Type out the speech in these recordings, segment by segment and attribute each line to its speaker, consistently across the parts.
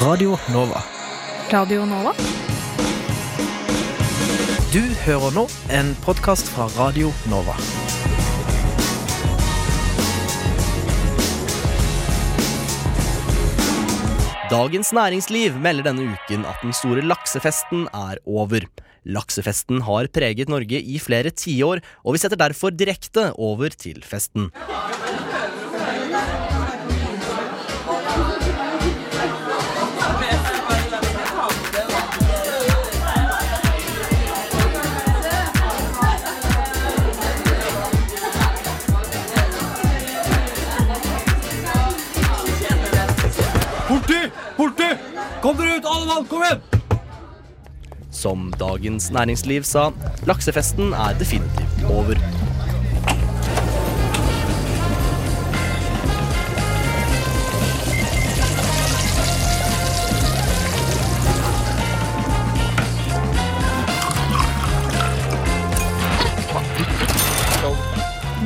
Speaker 1: Radio Nova.
Speaker 2: Radio Nova.
Speaker 1: Du hører nå en podkast fra Radio Nova.
Speaker 3: Dagens Næringsliv melder denne uken at den store laksefesten er over. Laksefesten har preget Norge i flere tiår, og vi setter derfor direkte over til festen.
Speaker 4: Politi! Politi! Kom dere ut, alle mann! Kom igjen!
Speaker 3: Som Dagens Næringsliv sa, laksefesten er definitivt over.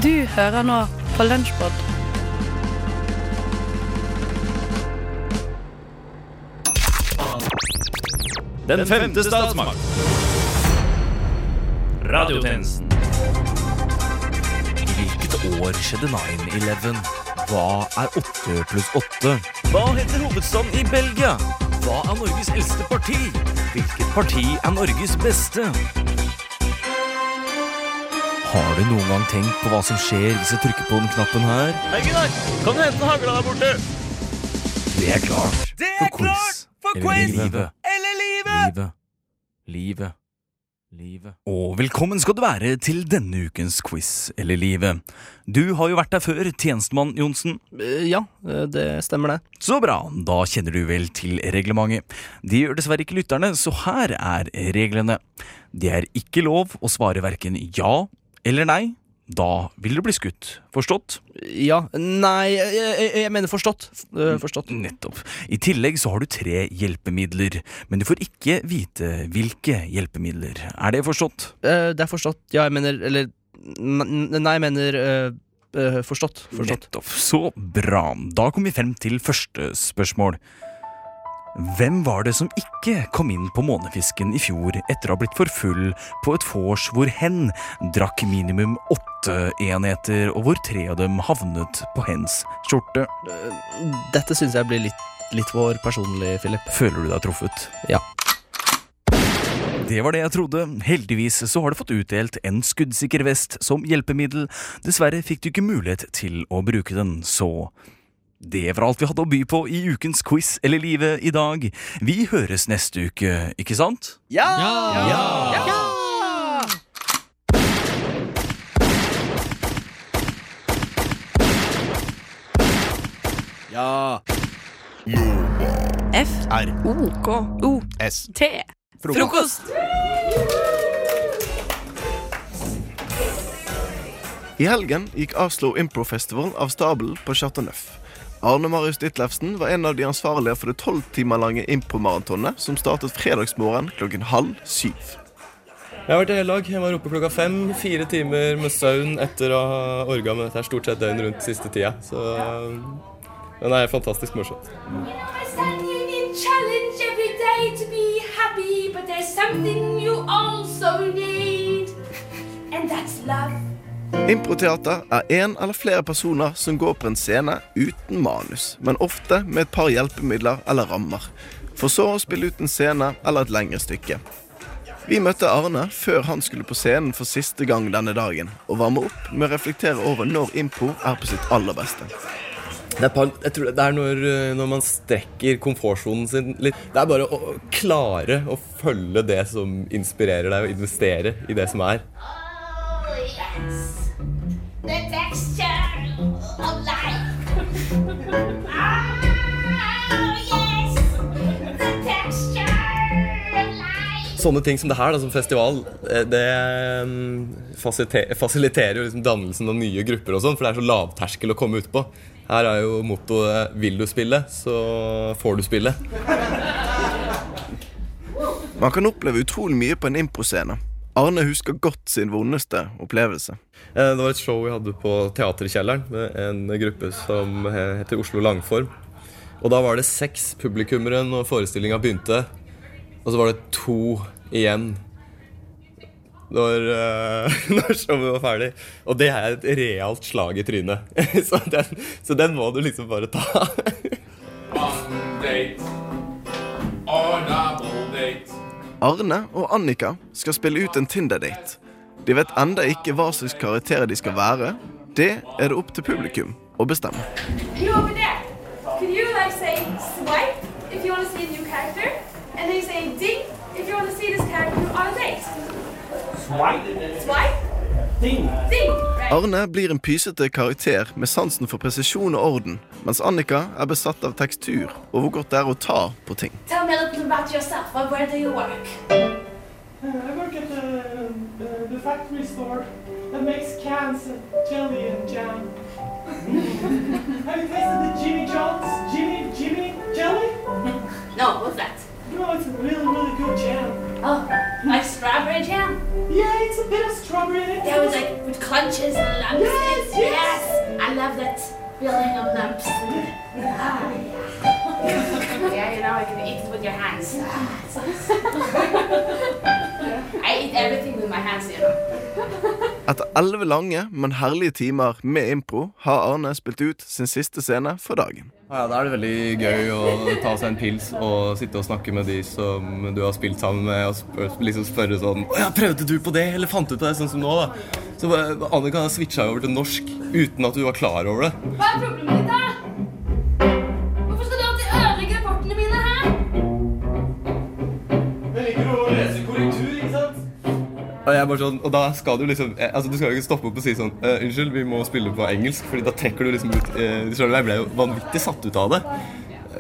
Speaker 2: Du hører nå på Lunsjpod.
Speaker 4: Den femte statsmakt. Radiotjenesten.
Speaker 3: Hvilket år skjedde 9-11? Hva er 8 pluss 8?
Speaker 4: Hva heter hovedstaden i Belgia? Hva er Norges eldste parti? Hvilket parti er Norges beste?
Speaker 3: Har du noen gang tenkt på hva som skjer hvis jeg trykker på den knappen her?
Speaker 4: Hei, Gunnar! Kan du hente hagla der borte?
Speaker 3: Det er klart.
Speaker 4: Det
Speaker 3: For quiz.
Speaker 4: for
Speaker 3: Livet.
Speaker 4: Eller livet!
Speaker 3: Livet. Livet. Livet. Og velkommen skal du være til denne ukens quiz eller livet. Du har jo vært der før, tjenestemann Johnsen. Eh, Ja, det stemmer det. Så bra, da kjenner du vel til reglementet. Det gjør dessverre ikke lytterne, så her er reglene. Det er ikke lov å svare verken ja eller nei. Da vil du bli skutt. Forstått? Ja. Nei, eh, jeg, mener forstått. eh, Forstått. Nettopp. I tillegg så har du tre hjelpemidler, men du får ikke vite hvilke hjelpemidler. Er det forstått? Eh, det er forstått. Ja, jeg mener Eller Nei, jeg mener eh, forstått. Nettopp. Så bra. Da kom vi frem til første spørsmål. Hvem var det som ikke kom inn på Månefisken i fjor etter å ha blitt for full på et vors hvor hen drakk minimum åtte enheter, og hvor tre av dem havnet på hens skjorte? Dette syns jeg blir litt, vår personlig, Philip. Føler du deg truffet? Ja. Det var det jeg trodde. Heldigvis så har du fått utdelt en skuddsikker vest som hjelpemiddel. Dessverre fikk du ikke mulighet til å bruke den, så det var alt vi hadde å by på i ukens quiz eller livet i dag. Vi høres neste uke, ikke sant? Ja!
Speaker 5: Ja.
Speaker 2: F.
Speaker 5: R.
Speaker 2: O. K. O.
Speaker 5: S.
Speaker 2: T. Frokost.
Speaker 6: Oh,
Speaker 5: I helgen gikk Oslo Impro Festival av stabelen på Chateau Neuf. Arne Marius Ditlevsen var en av de ansvarlige for det tolv timer lange impromaratonet som startet fredagsmorgen klokken halv syv.
Speaker 7: Jeg har vært i hele dag. Jeg var oppe klokka fem. Fire timer med søvn etter å ha orga med dette her stort sett døgn rundt siste tida. Så Men det er fantastisk morsomt.
Speaker 6: sending in challenge every day to be happy, but there's something you also need, and that's love.
Speaker 5: Improteater er én eller flere personer som går på en scene uten manus, men ofte med et par hjelpemidler eller rammer, for så å spille ut en scene eller et lengre stykke. Vi møtte Arne før han skulle på scenen for siste gang denne dagen, og varme opp med å reflektere over når impro er på sitt aller beste.
Speaker 7: Det er, par, jeg tror det er når, eh, når man strekker komfortsonen sin litt. Det er bare å å klare å følge det som inspirerer deg, og investere i det som er.
Speaker 6: Oh, yes. The texture of life. oh, yes. The texture of life.
Speaker 7: Sånne ting som det her, da, som festival, eh, det mm, fasilite- fasiliterer jo liksom dannelsen av nye grupper og sånn, for det er så lavterskel å komme ut på. Her er jo mottoet 'Vil du spille, så får du spille'.
Speaker 5: Man kan oppleve utrolig mye på en improscene. Arne husker godt sin vondeste opplevelse.
Speaker 7: Eh, Det var et show vi hadde på Teaterkjelleren med en gruppe som he- heter Oslo Langform. Og da var det seks publikummere når forestillinga begynte. Og så var det to igjen når, eh, når showet var ferdig. Og det er et realt slag i trynet. så, den, så den må du liksom bare ta.
Speaker 5: Arne og Annika skal spille ut en Tinder-date. De vet enda ikke hva slags karakterer de skal være. Det er det opp til publikum å bestemme.
Speaker 6: You over there. Can you like say swipe if you want to see a new character? And then you say ding if you want to see this character on a date. Swipe? Ding. Ding. Right.
Speaker 5: Arne blir en pysete karakter med sansen for presisjon og orden, mens Annika er besatt av tekstur og hvor godt det er å ta på ting.
Speaker 6: Tell me a little about yourself. Where- Where do you work?
Speaker 8: Uh, I work at the, the, the factory store that makes cans of jelly and jam. Have you tasted the Jimmy John's Jimmy Jimmy jelly?
Speaker 6: No, what's that?
Speaker 8: No, it's a really really good jam.
Speaker 6: Oh, like strawberry jam.
Speaker 8: Yeah, it's a bit of strawberry. in it.
Speaker 6: Yeah, with like with crunches and lumps.
Speaker 8: Yes, yes.
Speaker 6: Yes, I love that feeling of lumps. Ah, yeah. yeah, you know, I can eat it with your hands. Ah, it's nice. I eat everything with my hands, you know.
Speaker 5: Etter elleve lange, men herlige timer med impro har Arne spilt ut sin siste scene for dagen.
Speaker 7: Ja, Da er det veldig gøy å ta seg en pils og sitte og snakke med de som du har spilt sammen med, og spør, liksom spørre sånn «Å ja, 'Prøvde du på det, eller fant du på det?' Sånn som nå, da. Så bare- Annika switcha jo over til norsk uten at du var klar over det.
Speaker 6: Hva er problemet ditt, da? Hvorfor skal du alltid ødelegge rapportene mine her?
Speaker 7: Og jeg er bare sånn, og da skal du liksom eh, altså Du skal jo ikke stoppe opp og si sånn «Eh, 'Unnskyld, vi må spille på engelsk', Fordi da trekker du liksom ut eh, du skjønner, Jeg ble jo vanvittig satt ut av det.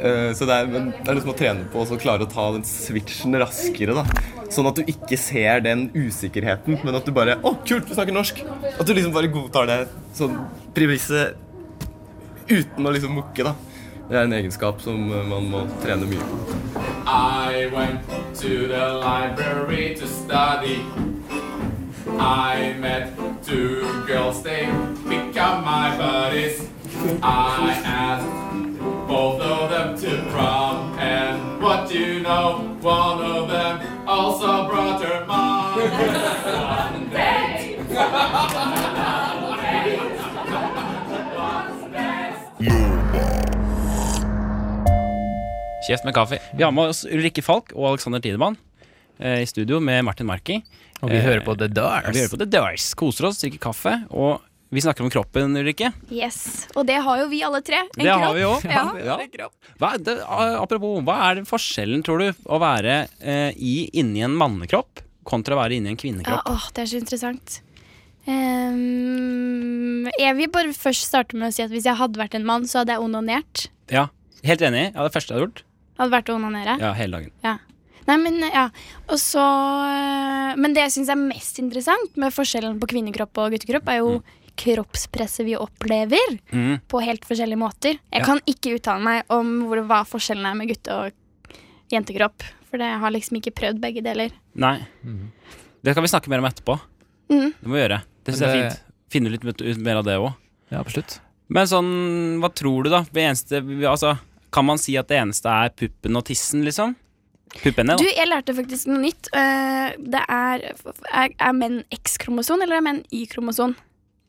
Speaker 7: Eh, så det er, men det er liksom å trene på og så klare å ta den switchen raskere. da Sånn at du ikke ser den usikkerheten, men at du bare 'Å, kult, du snakker norsk!' At du liksom bare godtar det sånn premisset uten å liksom mukke, da. Det er en egenskap som eh, man må trene mye på.
Speaker 9: I went to the library to study. I met two girls, they become my buddies. I asked both of them to prom, and what do you know? One of them also brought her mom.
Speaker 10: Kjeft med kaffe. Vi har med oss Ulrikke Falk og Alexander Tidemann eh, i studio med Martin Marki.
Speaker 1: Og vi
Speaker 10: Eh,
Speaker 1: hører på The Doors.
Speaker 10: Vi hører på The Doors. Koser oss, drikker kaffe. Og vi snakker om kroppen, Ulrikke.
Speaker 11: Yes, Og det har jo vi alle tre. En
Speaker 10: Det har
Speaker 11: kropp.
Speaker 10: vi òg.
Speaker 11: Ja.
Speaker 10: Hva, er det- a- apropos, hva er det forskjellen, tror du, å være eh, i, inni en mannekropp kontra å være inni en
Speaker 11: Ja,
Speaker 10: kvinnekropp?
Speaker 11: åh, det er så interessant. Ehm, jeg vil bare først starte med å si at hvis jeg hadde vært en mann, så hadde jeg onanert.
Speaker 10: Ja, Helt enig. Ja, det første jeg hadde gjort.
Speaker 11: Hadde vært å onanere.
Speaker 10: Ja, hele dagen.
Speaker 11: Ja. Nei, men ja. Og så eh, Men det jeg syns er mest interessant med forskjellen på kvinnekropp og guttekropp, er jo kroppspresset vi opplever
Speaker 10: Mm.
Speaker 11: på helt forskjellige måter. Jeg
Speaker 10: Ja.
Speaker 11: kan ikke uttale meg om hvor, hva forskjellen er med gutte- og jentekropp, for det jeg har liksom ikke prøvd begge deler.
Speaker 10: Nei.
Speaker 1: Mhm.
Speaker 10: Det kan vi snakke mer om etterpå.
Speaker 11: Mhm.
Speaker 10: Det må vi gjøre. Det syns jeg
Speaker 1: Men
Speaker 10: er
Speaker 1: det-
Speaker 10: fint. Finne litt ut ut mer av det òg.
Speaker 1: Ja, absolutt.
Speaker 10: Men sånn, hva tror du, da? Det eneste, altså, kan man si at det eneste er puppen og tissen, liksom? Puppene, da.
Speaker 11: Du, jeg lærte faktisk noe nytt. Eh, Det er Er, er menn X-kromoson, eller er menn Y-kromoson?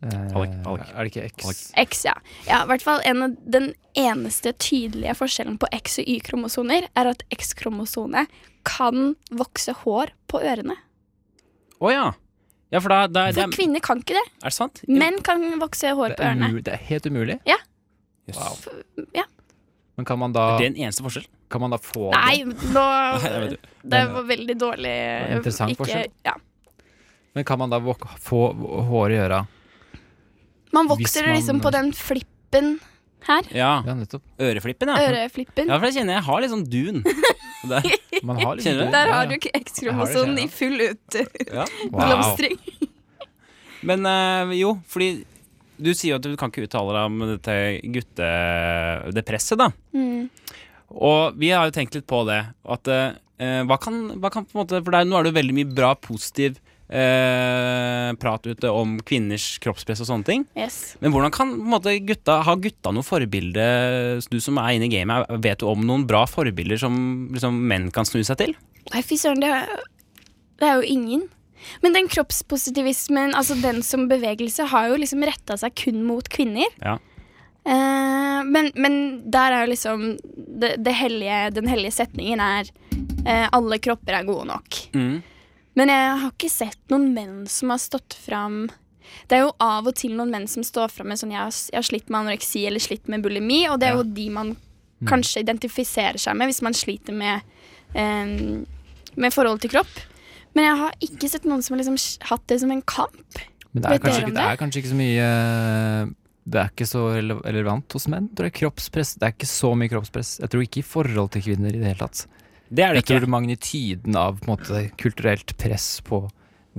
Speaker 12: Eh,
Speaker 10: Alec, Alec.
Speaker 1: Er det ikke X?
Speaker 11: X, ja. ja i hvert fall en, av- Den eneste tydelige forskjellen på X- og Y-kromosoner er at X-kromosonet kan vokse hår på ørene.
Speaker 10: Å ja. Ja, for da, da
Speaker 11: For
Speaker 10: det er,
Speaker 11: kvinner kan ikke det.
Speaker 10: er det sant?
Speaker 11: Menn kan vokse hår på ørene.
Speaker 1: Det er helt umulig.
Speaker 10: Yes.
Speaker 1: Wow.
Speaker 11: Ja.
Speaker 1: Men kan man
Speaker 10: Er
Speaker 1: da,
Speaker 10: det en eneste forskjell?
Speaker 1: kan man da få
Speaker 11: Nei, nå
Speaker 10: jeg vet
Speaker 11: Det var veldig dårlig.
Speaker 1: var interessant forskjell.
Speaker 11: Ja.
Speaker 1: det? Men kan man da vok få hår i øra?
Speaker 11: Man
Speaker 1: Hvis
Speaker 11: vokser
Speaker 1: man-
Speaker 11: liksom på den flippen her.
Speaker 10: Ja.
Speaker 1: Ja, nettopp.
Speaker 10: Øreflippen, ja.
Speaker 11: Øreflippen.
Speaker 10: Ja, for jeg kjenner jeg har litt sånn dun. Der.
Speaker 1: Man har litt
Speaker 10: Kjenner du?
Speaker 11: Der
Speaker 1: Ja,
Speaker 11: har
Speaker 1: ja.
Speaker 11: du ikke
Speaker 1: Jeg har
Speaker 11: X-kromosonen
Speaker 1: det,
Speaker 11: i full
Speaker 10: Ja.
Speaker 1: Wow.
Speaker 11: utblomstring.
Speaker 10: Men eh, jo, fordi du sier jo at du kan ikke uttale deg om dette gutte... det presset, da.
Speaker 11: Mm.
Speaker 10: Og vi har jo tenkt litt på det. At eh, hva, kan, hva kan på en måte For det er, nå er det jo veldig mye bra positiv eh, prat ute om kvinners kroppspress og sånne ting.
Speaker 11: Yes.
Speaker 10: Men hvordan kan på en måte, gutta, ha gutta noe forbilde? Du som er inne i gamet, vet du om noen bra forbilder som liksom, menn kan snu seg til?
Speaker 11: Nei, fy søren, det, er- det er jo ingen. Men den kroppspositivismen, altså den som bevegelse, har jo liksom retta seg kun mot kvinner.
Speaker 10: Ja.
Speaker 11: Eh, men, men der er jo liksom det, det hellige, Den hellige setningen er eh, alle kropper er gode nok.
Speaker 10: Mm.
Speaker 11: Men jeg har ikke sett noen menn som har stått fram Det er jo av og til noen menn som står fram med sånn jeg har, jeg har slitt med anoreksi eller slitt med bulimi, og det er jo de man
Speaker 12: Mm.
Speaker 11: kanskje identifiserer seg med hvis man sliter med, eh, med forhold til kropp. Men jeg har ikke sett noen som har liksom sj- hatt det som en kamp.
Speaker 12: Men det er,
Speaker 11: Vet dere
Speaker 12: kanskje
Speaker 11: om
Speaker 12: ikke, det er kanskje ikke så mye eh, Det er ikke så rele- relevant hos menn. Tror jeg. Kroppspress, det er ikke så mye kroppspress. Jeg tror ikke i forhold til kvinner i det hele tatt.
Speaker 10: Det er det
Speaker 12: jeg tror magnitiden av på en måte, kulturelt press på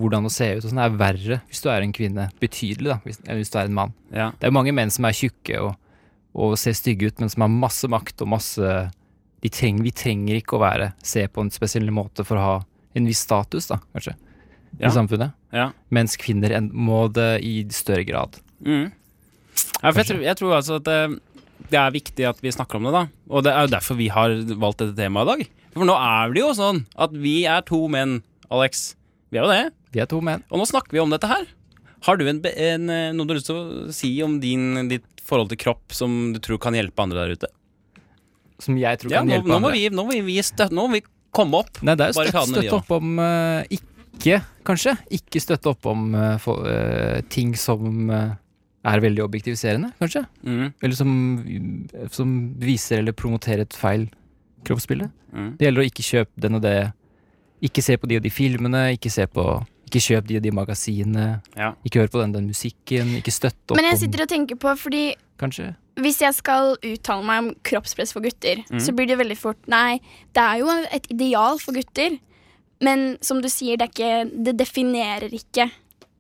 Speaker 12: hvordan å se ut og sånn, er verre hvis du er en kvinne. Betydelig, da, hvis, enn hvis du er en mann. Det er jo mange menn som er tjukke og, og ser stygge ut, men som har masse makt og masse de treng, Vi trenger ikke å være se på en spesiell måte for å ha en viss status, da, kanskje,
Speaker 10: Ja.
Speaker 12: i samfunnet.
Speaker 10: Ja.
Speaker 12: Mens kvinner en- må det i større grad.
Speaker 10: Mm. Ja, for jeg, tror, jeg tror altså at eh, det er viktig at vi snakker om det, da. Og det er jo derfor vi har valgt dette temaet i dag. For nå er det jo sånn at vi er to menn, Alex. Vi er jo det.
Speaker 12: Vi er to menn.
Speaker 10: Og nå snakker vi om dette her. Har du en, be- en, eh, noe du har lyst til å si om din, ditt forhold til kropp som du tror kan hjelpe andre der ute?
Speaker 12: Som jeg tror
Speaker 10: Ja,
Speaker 12: kan
Speaker 10: nå,
Speaker 12: hjelpe
Speaker 10: nå, må
Speaker 12: andre.
Speaker 10: vi, nå må vi, vi støtte Nå må vi komme opp.
Speaker 12: Nei, det er jo støtt,
Speaker 10: barrikadene, vi
Speaker 12: støtte
Speaker 10: da.
Speaker 12: opp om eh, Ikke, kanskje, ikke støtte opp om eh, fo- eh, ting som eh, er veldig objektiviserende, kanskje.
Speaker 10: Mhm.
Speaker 12: Eller som, som viser eller promoterer et feil kroppsbilde.
Speaker 10: Mhm.
Speaker 12: Det gjelder å ikke kjøpe den og det. Ikke se på de og de filmene, ikke se på ikke kjøp de og de magasinene.
Speaker 10: Ja.
Speaker 12: Ikke hør på den og den musikken. Ikke støtt opp
Speaker 11: Men jeg
Speaker 12: om
Speaker 11: sitter og tenker på, fordi
Speaker 12: Kanskje.
Speaker 11: hvis jeg skal uttale meg om kroppspress for gutter,
Speaker 12: Mm.
Speaker 11: så blir det veldig fort Nei, det er jo et ideal for gutter, men som du sier, det, er ikke, det definerer ikke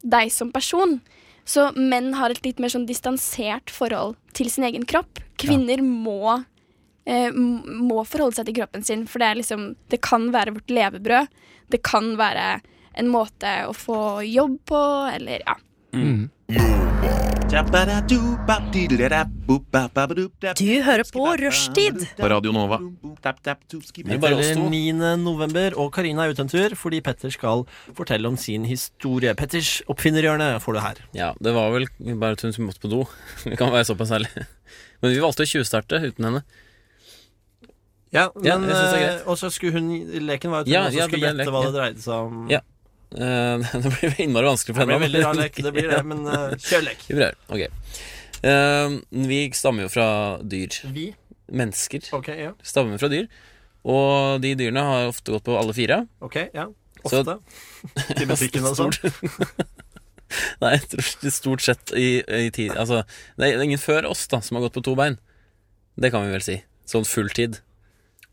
Speaker 11: deg som person. Så menn har et litt mer sånn distansert forhold til sin egen kropp. Kvinner må eh, m- må forholde seg til kroppen sin, for det er liksom Det kan være vårt levebrød. Det kan være en måte å få jobb på, eller ja.
Speaker 13: Du hører på Rushtid.
Speaker 14: På Radio Nova.
Speaker 13: Vi teller 9. november, og Karina er ute en tur fordi Petter skal fortelle om sin historie. Petters oppfinnerhjørne får du her.
Speaker 14: Ja, det var vel bare at hun måtte på do. Vi kan være såpass ærlige. Men vi valgte å tjuvstarte uten henne.
Speaker 13: Ja,
Speaker 14: Ja,
Speaker 13: men
Speaker 14: jeg synes det er
Speaker 13: eh, Og så skulle hun Leken var jo at hun
Speaker 14: Ja, ja,
Speaker 13: også
Speaker 14: det
Speaker 13: skulle
Speaker 14: ble en
Speaker 13: gjette
Speaker 14: lek,
Speaker 13: hva
Speaker 14: ja.
Speaker 13: det dreide seg om.
Speaker 14: Ja. Eh, det blir innmari vanskelig for
Speaker 13: Det
Speaker 14: henne.
Speaker 13: blir veldig rar lek, det blir det, men eh, kjør lek.
Speaker 14: Vi prøver. Ok. Eh, vi stammer jo fra dyr.
Speaker 13: Vi?
Speaker 14: Mennesker.
Speaker 13: Ok, ja.
Speaker 14: Stammer fra dyr. Og de dyrene har ofte gått på alle fire.
Speaker 13: Ok, ja.
Speaker 14: Så-
Speaker 13: Ofte. Til butikken, altså.
Speaker 14: Stort. Nei, jeg tror det er stort sett i, i tid Altså, det er ingen før oss da som har gått på to bein. Det kan vi vel si. Sånn fulltid.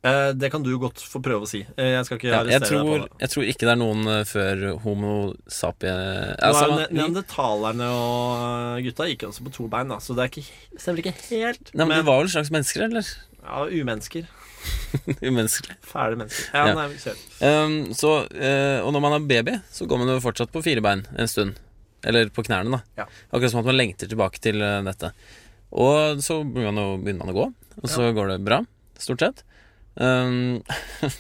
Speaker 13: Eh, det kan du godt få prøve å si. Eh, jeg skal ikke
Speaker 14: Ja, jeg,
Speaker 13: arrestere deg
Speaker 14: tror,
Speaker 13: på det.
Speaker 14: jeg tror ikke det er noen eh, før homo sapie...
Speaker 13: Du har jo
Speaker 14: Altså,
Speaker 13: ne- Neandertalerne og eh, gutta gikk også på to bein, da, så det er ikke, det stemmer ikke helt.
Speaker 14: Nei, men det var vel slags mennesker, eller?
Speaker 13: Ja, umennesker.
Speaker 14: Umenneskelig.
Speaker 13: Fæle mennesker. Ja,
Speaker 14: Ja.
Speaker 13: nei, vi kjører.
Speaker 14: Ehm, så, eh, og når man er baby, så går man jo fortsatt på fire bein en stund. Eller på knærne, da.
Speaker 13: Ja.
Speaker 14: Akkurat som at man lengter tilbake til eh, dette. Og så begynner man å, begynner man å gå, og så går det bra, stort sett. Ehm,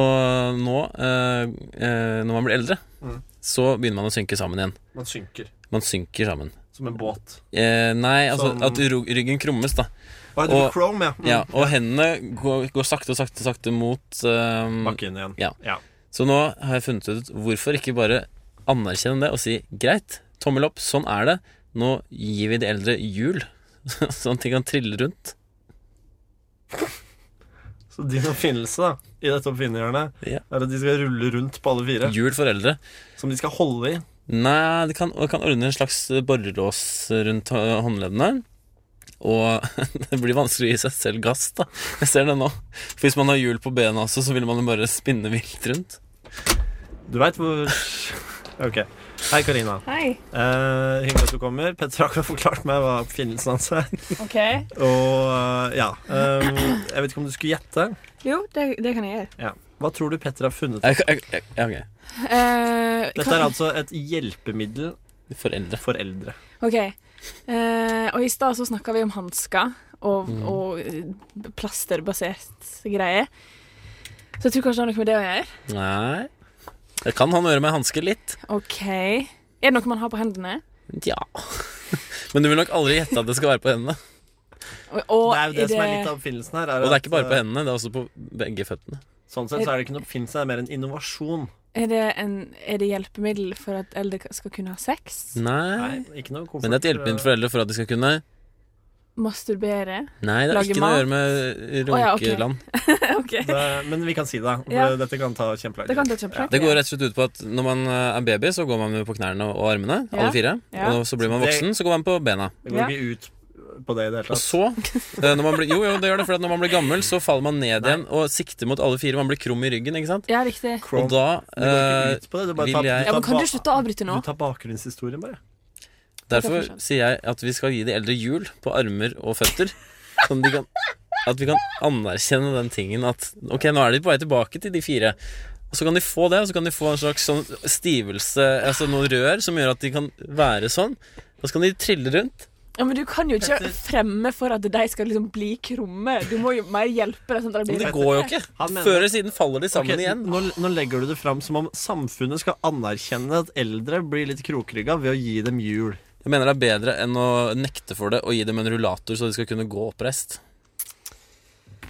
Speaker 14: og nå, eh, eh, når man blir eldre,
Speaker 13: Mm.
Speaker 14: så begynner man å synke sammen igjen.
Speaker 13: Man synker.
Speaker 14: Man synker sammen.
Speaker 13: Som en båt.
Speaker 14: Eh, nei, altså
Speaker 13: Som-
Speaker 14: at ro- ryggen krummes, da.
Speaker 13: Å, det blir krom, ja. Mm.
Speaker 14: ja. Og hendene går, går sakte og sakte sakte mot ehm,
Speaker 13: Bakken igjen.
Speaker 14: Ja.
Speaker 13: Ja.
Speaker 14: Så nå har jeg funnet ut hvorfor ikke bare anerkjenne det og si greit, tommel opp, sånn er det. Nå gir vi de eldre hjul, sånn at de kan trille rundt.
Speaker 13: Så din oppfinnelse da i dette oppfinnerhjørnet
Speaker 14: Ja.
Speaker 13: er at de skal rulle rundt på alle fire.
Speaker 14: Hjul for eldre.
Speaker 13: Som de skal holde i.
Speaker 14: Nei, det kan, det kan ordne en slags borrelås rundt hå- håndleddene. Og det blir vanskelig å gi seg selv gass, da. Jeg ser det nå. For hvis man har hjul på bena også, så vil man jo bare spinne vilt rundt.
Speaker 13: Du veit hvor Ok. Hei, Karina.
Speaker 2: Hei.
Speaker 13: Eh, hyggelig at du kommer. Petter har akkurat forklart meg hva oppfinnelsen hans er.
Speaker 2: Ok.
Speaker 13: Og eh, ja eh, ehm, Jeg vet ikke om du skulle gjette.
Speaker 2: Jo, det, det kan jeg gjøre.
Speaker 13: Ja. Hva tror du Petter har funnet
Speaker 14: Jeg- jeg- jeg- ja, ok.
Speaker 15: Eh,
Speaker 13: Dette
Speaker 15: kan-
Speaker 13: er altså et hjelpemiddel
Speaker 14: for eldre. altså-
Speaker 15: OK. Eh, og i stad så snakka vi om hansker og,
Speaker 14: Mm.
Speaker 15: og eh, plasterbasert greie. Så jeg tror kanskje det har noe med det å gjøre.
Speaker 14: Nei Det kan han gjøre med hansker litt.
Speaker 15: OK. Er det noe man har på hendene?
Speaker 14: Ja. Men du vil nok aldri gjette at det skal være på hendene.
Speaker 15: Og, og
Speaker 13: Det er jo det, som er litt av oppfinnelsen her.
Speaker 14: Og det er
Speaker 13: at,
Speaker 14: ikke bare på
Speaker 13: eh,
Speaker 14: hendene, det er også på begge føttene.
Speaker 13: Sånn sett så er det ikke en oppfinnelse, det er mer en innovasjon.
Speaker 15: Er det, en, er det hjelpemiddel for at eldre skal kunne ha sex?
Speaker 14: Nei,
Speaker 13: ikke noe eh,
Speaker 14: men det er et hjelpemiddel for eldre for at de skal kunne
Speaker 15: Masturbere?
Speaker 14: Nei, det er
Speaker 15: Lage
Speaker 14: ikke noe å
Speaker 15: mat?
Speaker 14: gjøre med
Speaker 15: Å, ja, ok.
Speaker 14: runkeland.
Speaker 13: Det, men vi kan si det. for
Speaker 15: Ja.
Speaker 13: Dette kan ta kjempelang
Speaker 15: Det kan ta kjempelang
Speaker 14: Det går rett og slett ut på at når man eh, er baby, så går man jo på knærne og armene,
Speaker 13: Ja.
Speaker 14: alle fire.
Speaker 13: Ja.
Speaker 14: Og så blir man
Speaker 13: Det-
Speaker 14: voksen, så går man på bena.
Speaker 13: Det går ikke ut på det i det hele
Speaker 14: Og
Speaker 13: tatt.
Speaker 14: så eh, når man blir, Jo, jo, det gjør det, for at når man blir gammel, så faller man ned igjen og sikter mot alle fire. Man blir krum i ryggen, ikke sant?
Speaker 15: Ja, riktig.
Speaker 14: Og da
Speaker 13: Det går ikke
Speaker 14: eh,
Speaker 13: ut på det, du bare tar-
Speaker 14: vil
Speaker 13: du
Speaker 14: jeg
Speaker 15: Ja, men Kan du slutte å avbryte nå?
Speaker 13: Du tar bakgrunnshistorien, bare.
Speaker 14: Derfor sier jeg at vi skal gi de eldre hjul på armer og føtter. Sånn de kan, at vi kan anerkjenne den tingen at ok, nå er de på vei tilbake til de fire. Og så kan de få det, og så kan de få en slags sånn stivelse, altså noe rør som gjør at de kan være sånn. Og så kan de trille rundt.
Speaker 15: Ja, men Du kan jo ikke fremme for at de skal liksom bli krumme. Du må jo mer hjelpe dem. Sånn at
Speaker 14: Men
Speaker 15: de
Speaker 14: det
Speaker 15: blir
Speaker 14: går jo ikke.
Speaker 13: Han mener-
Speaker 14: Før eller siden faller de sammen
Speaker 13: Ok,
Speaker 14: igjen.
Speaker 13: Nå, nå legger du det fram som om samfunnet skal anerkjenne at eldre blir litt krokrygga ved å gi dem hjul.
Speaker 14: Jeg mener det er bedre enn å nekte for det og gi dem en rullator så de skal kunne gå oppreist.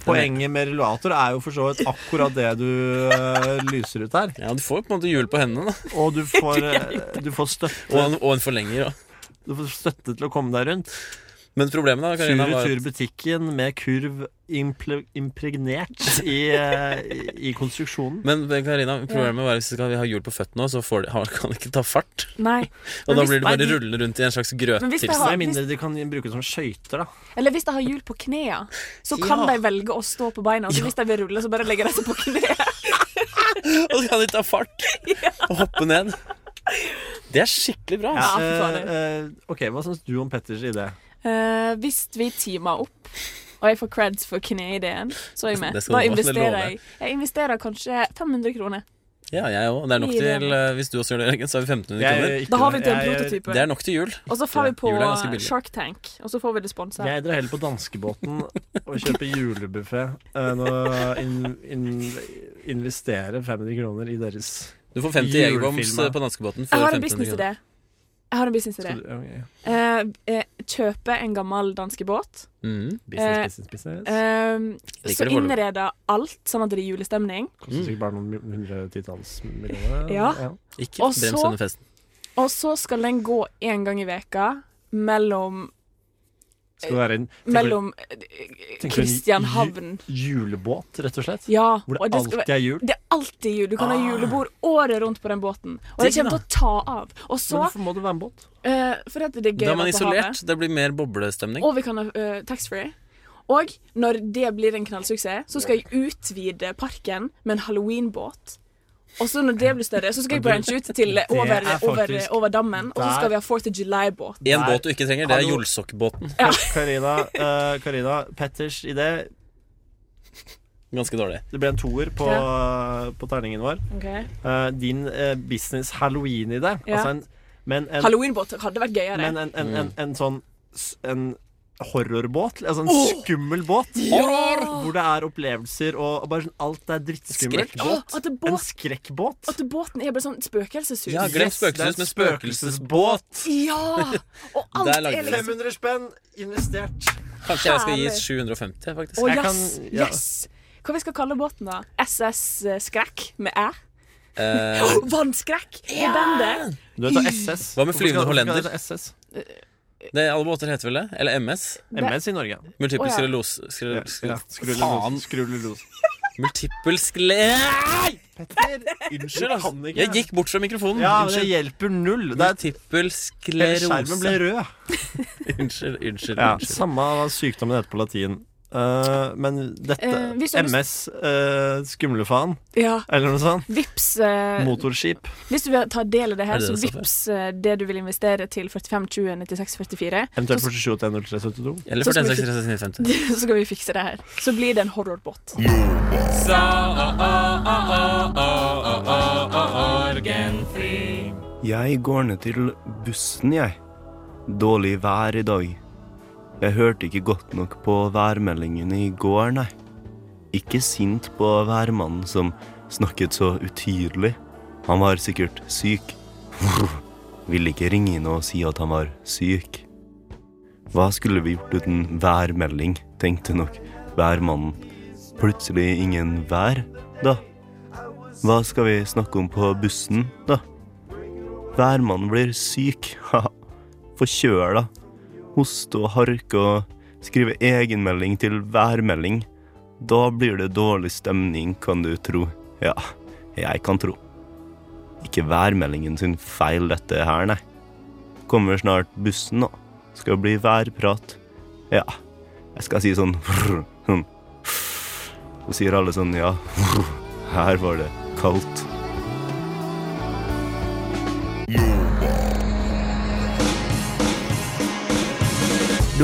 Speaker 13: Poenget med rullator er jo for så vidt akkurat det du eh, lyser ut her.
Speaker 14: Ja, Du får jo på en måte hjul på hendene, da.
Speaker 13: Og du får, eh, du får støtte.
Speaker 14: Og en, og en forlenger òg.
Speaker 13: Du får støtte til å komme deg rundt.
Speaker 14: Men problemet da, Karina, var at-
Speaker 13: Tur-retur-butikken med kurv imple- impregnert i, eh, i, i konstruksjonen.
Speaker 14: Men Karina, problemet var at hvis vi skal ha hjul på føttene også, så får de, har- kan de ikke ta fart.
Speaker 15: Nei.
Speaker 14: Og da
Speaker 15: Men hvis-
Speaker 14: blir de
Speaker 15: Nei,
Speaker 14: bare
Speaker 15: de-
Speaker 14: rullende rundt i en slags
Speaker 15: Men hvis de
Speaker 14: grøttilstand.
Speaker 15: har- Med mindre
Speaker 13: de kan bruke som skøyter, da.
Speaker 15: Eller hvis de har hjul på knærne, så kan
Speaker 14: Ja.
Speaker 15: de velge å stå på beina. Og så hvis de vil rulle, så bare legger de seg på kneet.
Speaker 14: Og så kan de ta fart og hoppe ned. Det er skikkelig bra.
Speaker 13: Ja,
Speaker 14: altså.
Speaker 13: eh, eh, ok, Hva syns du om Petters idé?
Speaker 15: Eh, hvis vi teamer opp, og jeg får creds for kneideen, så er jeg med.
Speaker 14: Det skal du få,
Speaker 15: Da
Speaker 14: det
Speaker 15: investerer
Speaker 14: lover
Speaker 15: jeg.
Speaker 14: jeg.
Speaker 15: Jeg investerer kanskje 500 kroner.
Speaker 14: Ja, jeg òg. Det er nok
Speaker 15: Mye
Speaker 14: til
Speaker 15: idé.
Speaker 14: eh, Hvis du også gjør det, Jørgen, så har vi 1500
Speaker 13: Jeg gjør
Speaker 14: kroner.
Speaker 13: ikke Da har vi det. til en
Speaker 15: Jeg- prototype.
Speaker 14: Det er nok til jul.
Speaker 15: Og så får vi på
Speaker 14: Jul er ganske billig.
Speaker 15: Shark Tank, og så får vi det sponsa.
Speaker 13: Jeg drar heller på danskebåten og kjøper julebuffé enn å in, in, investere 500 kroner i deres
Speaker 14: Du får 50 Jegerbombs
Speaker 13: julefilmer.
Speaker 14: på danskebåten
Speaker 15: Jeg
Speaker 14: for
Speaker 15: har
Speaker 14: 1500
Speaker 15: en
Speaker 14: kroner.
Speaker 15: businessidé. Jeg har en businessidé.
Speaker 13: Skal du- ja, ja,
Speaker 15: Eh, eh, kjøpe en gammel danskebåt.
Speaker 14: Mm.
Speaker 13: Business,
Speaker 15: Eh,
Speaker 13: business, business.
Speaker 15: eh, så
Speaker 13: Liker det foreløpig.
Speaker 15: innreder alt, sånn at det gir julestemning.
Speaker 14: Mm.
Speaker 13: Koster sikkert bare noen hundretalls millioner.
Speaker 15: Ja.
Speaker 14: Ikke
Speaker 15: Og
Speaker 14: brems
Speaker 15: så-
Speaker 14: denne festen.
Speaker 15: Og så skal den gå én gang i veka mellom
Speaker 13: Skal det være en tenker du-
Speaker 15: Mellom
Speaker 13: tenker du en
Speaker 15: Kristianhavn
Speaker 13: ju- Julebåt, rett og slett?
Speaker 15: Ja.
Speaker 13: Hvor det,
Speaker 15: og
Speaker 13: alltid
Speaker 15: skal være-
Speaker 13: er jul? Ah.
Speaker 15: Det er alltid jul. Du kan ha julebord året rundt på den båten. Og det
Speaker 13: Digg,
Speaker 15: kommer til å ta av. Og så
Speaker 13: Men hvorfor må det være en båt?
Speaker 15: Eh, fordi at det er gøy
Speaker 14: Da er man
Speaker 15: å være på havet.
Speaker 14: isolert. Det blir mer boblestemning.
Speaker 15: Og vi kan ha eh, taxfree. Og når det blir en knallsuksess, så skal jeg utvide parken med en halloweenbåt. Og så når det blir større, så skal jeg branche ut til
Speaker 14: Det
Speaker 15: eh,
Speaker 14: er
Speaker 15: over, over,
Speaker 14: faktisk-
Speaker 15: over dammen. Og så skal vi ha 4th of July-båt.
Speaker 14: En
Speaker 13: Nei.
Speaker 14: båt du ikke trenger, det er
Speaker 13: Hallo.
Speaker 14: jolsokkbåten.
Speaker 13: Karina, eh, Karina Petters idé
Speaker 14: Ganske dårlig.
Speaker 13: Det ble en toer på, på terningen vår.
Speaker 15: Ok.
Speaker 13: Eh, din eh, business halloween-idé.
Speaker 15: Ja.
Speaker 13: Altså en, men en,
Speaker 15: Halloweenbåt hadde vært gøyere.
Speaker 13: men en, en,
Speaker 14: Mm.
Speaker 13: en, en sånn s- en horrorbåt. Altså en
Speaker 15: Åh!
Speaker 13: skummel båt.
Speaker 15: Ja!
Speaker 13: Hvor det er opplevelser og bare sånn alt er drittskummelt.
Speaker 15: Skrekkbåt. Åh, at det båt-
Speaker 13: En skrekkbåt.
Speaker 15: At båten er bare sånn spøkelseshus.
Speaker 13: Ja, glem spøkelseshus, men spøkelsesbåt.
Speaker 15: Ja! Og alt
Speaker 14: Der
Speaker 15: er
Speaker 14: lagde vi
Speaker 15: liksom
Speaker 14: det.
Speaker 13: 500 spenn investert.
Speaker 14: Kanskje jeg skal gi
Speaker 15: Herlig.
Speaker 14: 750, faktisk.
Speaker 15: Å, yes, yes! Hva vi skal kalle båten, da? SS eh, Skrekk med æ?
Speaker 14: Eh,
Speaker 15: Vannskrekk i bandet?
Speaker 13: Du vet da SS.
Speaker 14: Hva med flyvende
Speaker 13: Hvorfor skal- hvorfor
Speaker 14: hollender?
Speaker 13: skal det hete SS?
Speaker 15: Eh,
Speaker 14: Det er alle båter heter vel det? Eller MS?
Speaker 13: MS i Norge.
Speaker 14: Multiple
Speaker 13: Å, ja.
Speaker 14: skrelose skrel-
Speaker 13: Ja,
Speaker 14: skrel-
Speaker 13: skrullelos-
Speaker 14: Faen.
Speaker 13: skrullelos.
Speaker 14: Multiple skle...
Speaker 13: Unnskyld,
Speaker 14: ass. Jeg gikk bort fra mikrofonen.
Speaker 13: Ja, men det
Speaker 14: Unnskyld.
Speaker 13: hjelper null. Det er
Speaker 14: Multiple
Speaker 13: Hele
Speaker 14: sklerose.
Speaker 13: skjermen ble rød.
Speaker 14: unnskyld, unnskyld.
Speaker 13: Ja,
Speaker 14: unnskyld.
Speaker 13: samme hva sykdommen heter på latin. Eh, men dette
Speaker 15: Eh, hvis du har lyst-
Speaker 13: MS uh, Skumlefaen,
Speaker 15: Ja.
Speaker 13: eller noe sånt.
Speaker 15: Vips, eh,
Speaker 13: Motorskip.
Speaker 15: Hvis du vil ta del i det her,
Speaker 13: Er det
Speaker 15: så
Speaker 13: det som er?
Speaker 15: vips eh, det du vil investere til 45 20 96 44.
Speaker 13: Eventuelt
Speaker 15: Så-
Speaker 13: 47 til 0372.
Speaker 14: Eller
Speaker 15: så skal
Speaker 14: 41
Speaker 15: vi
Speaker 14: 66 59.
Speaker 15: fik- Så skal vi fikse det her. Så blir det en horrorbåt.
Speaker 9: Uh, uh,
Speaker 4: Morgenfri.
Speaker 16: Jeg går ned til bussen, jeg. Dårlig vær i dag. Jeg hørte ikke godt nok på værmeldingene i går, nei. Ikke sint på værmannen som snakket så utydelig. Han var sikkert syk. Ville ikke ringe inn og si at han var syk. Hva skulle vi gjort uten værmelding, tenkte nok værmannen. Plutselig ingen vær, da. Hva skal vi snakke om på bussen, da? Værmannen blir syk, haha. Forkjøla. Hoste og harke og skrive egenmelding til værmelding. Da blir det dårlig stemning, kan du tro. Ja, jeg kan tro. Ikke værmeldingen sin feil, dette her, nei. Kommer snart bussen, nå. Skal bli værprat. Ja, jeg skal si sånn sånn. Så sier alle sånn ja, her var det kaldt.
Speaker 1: Du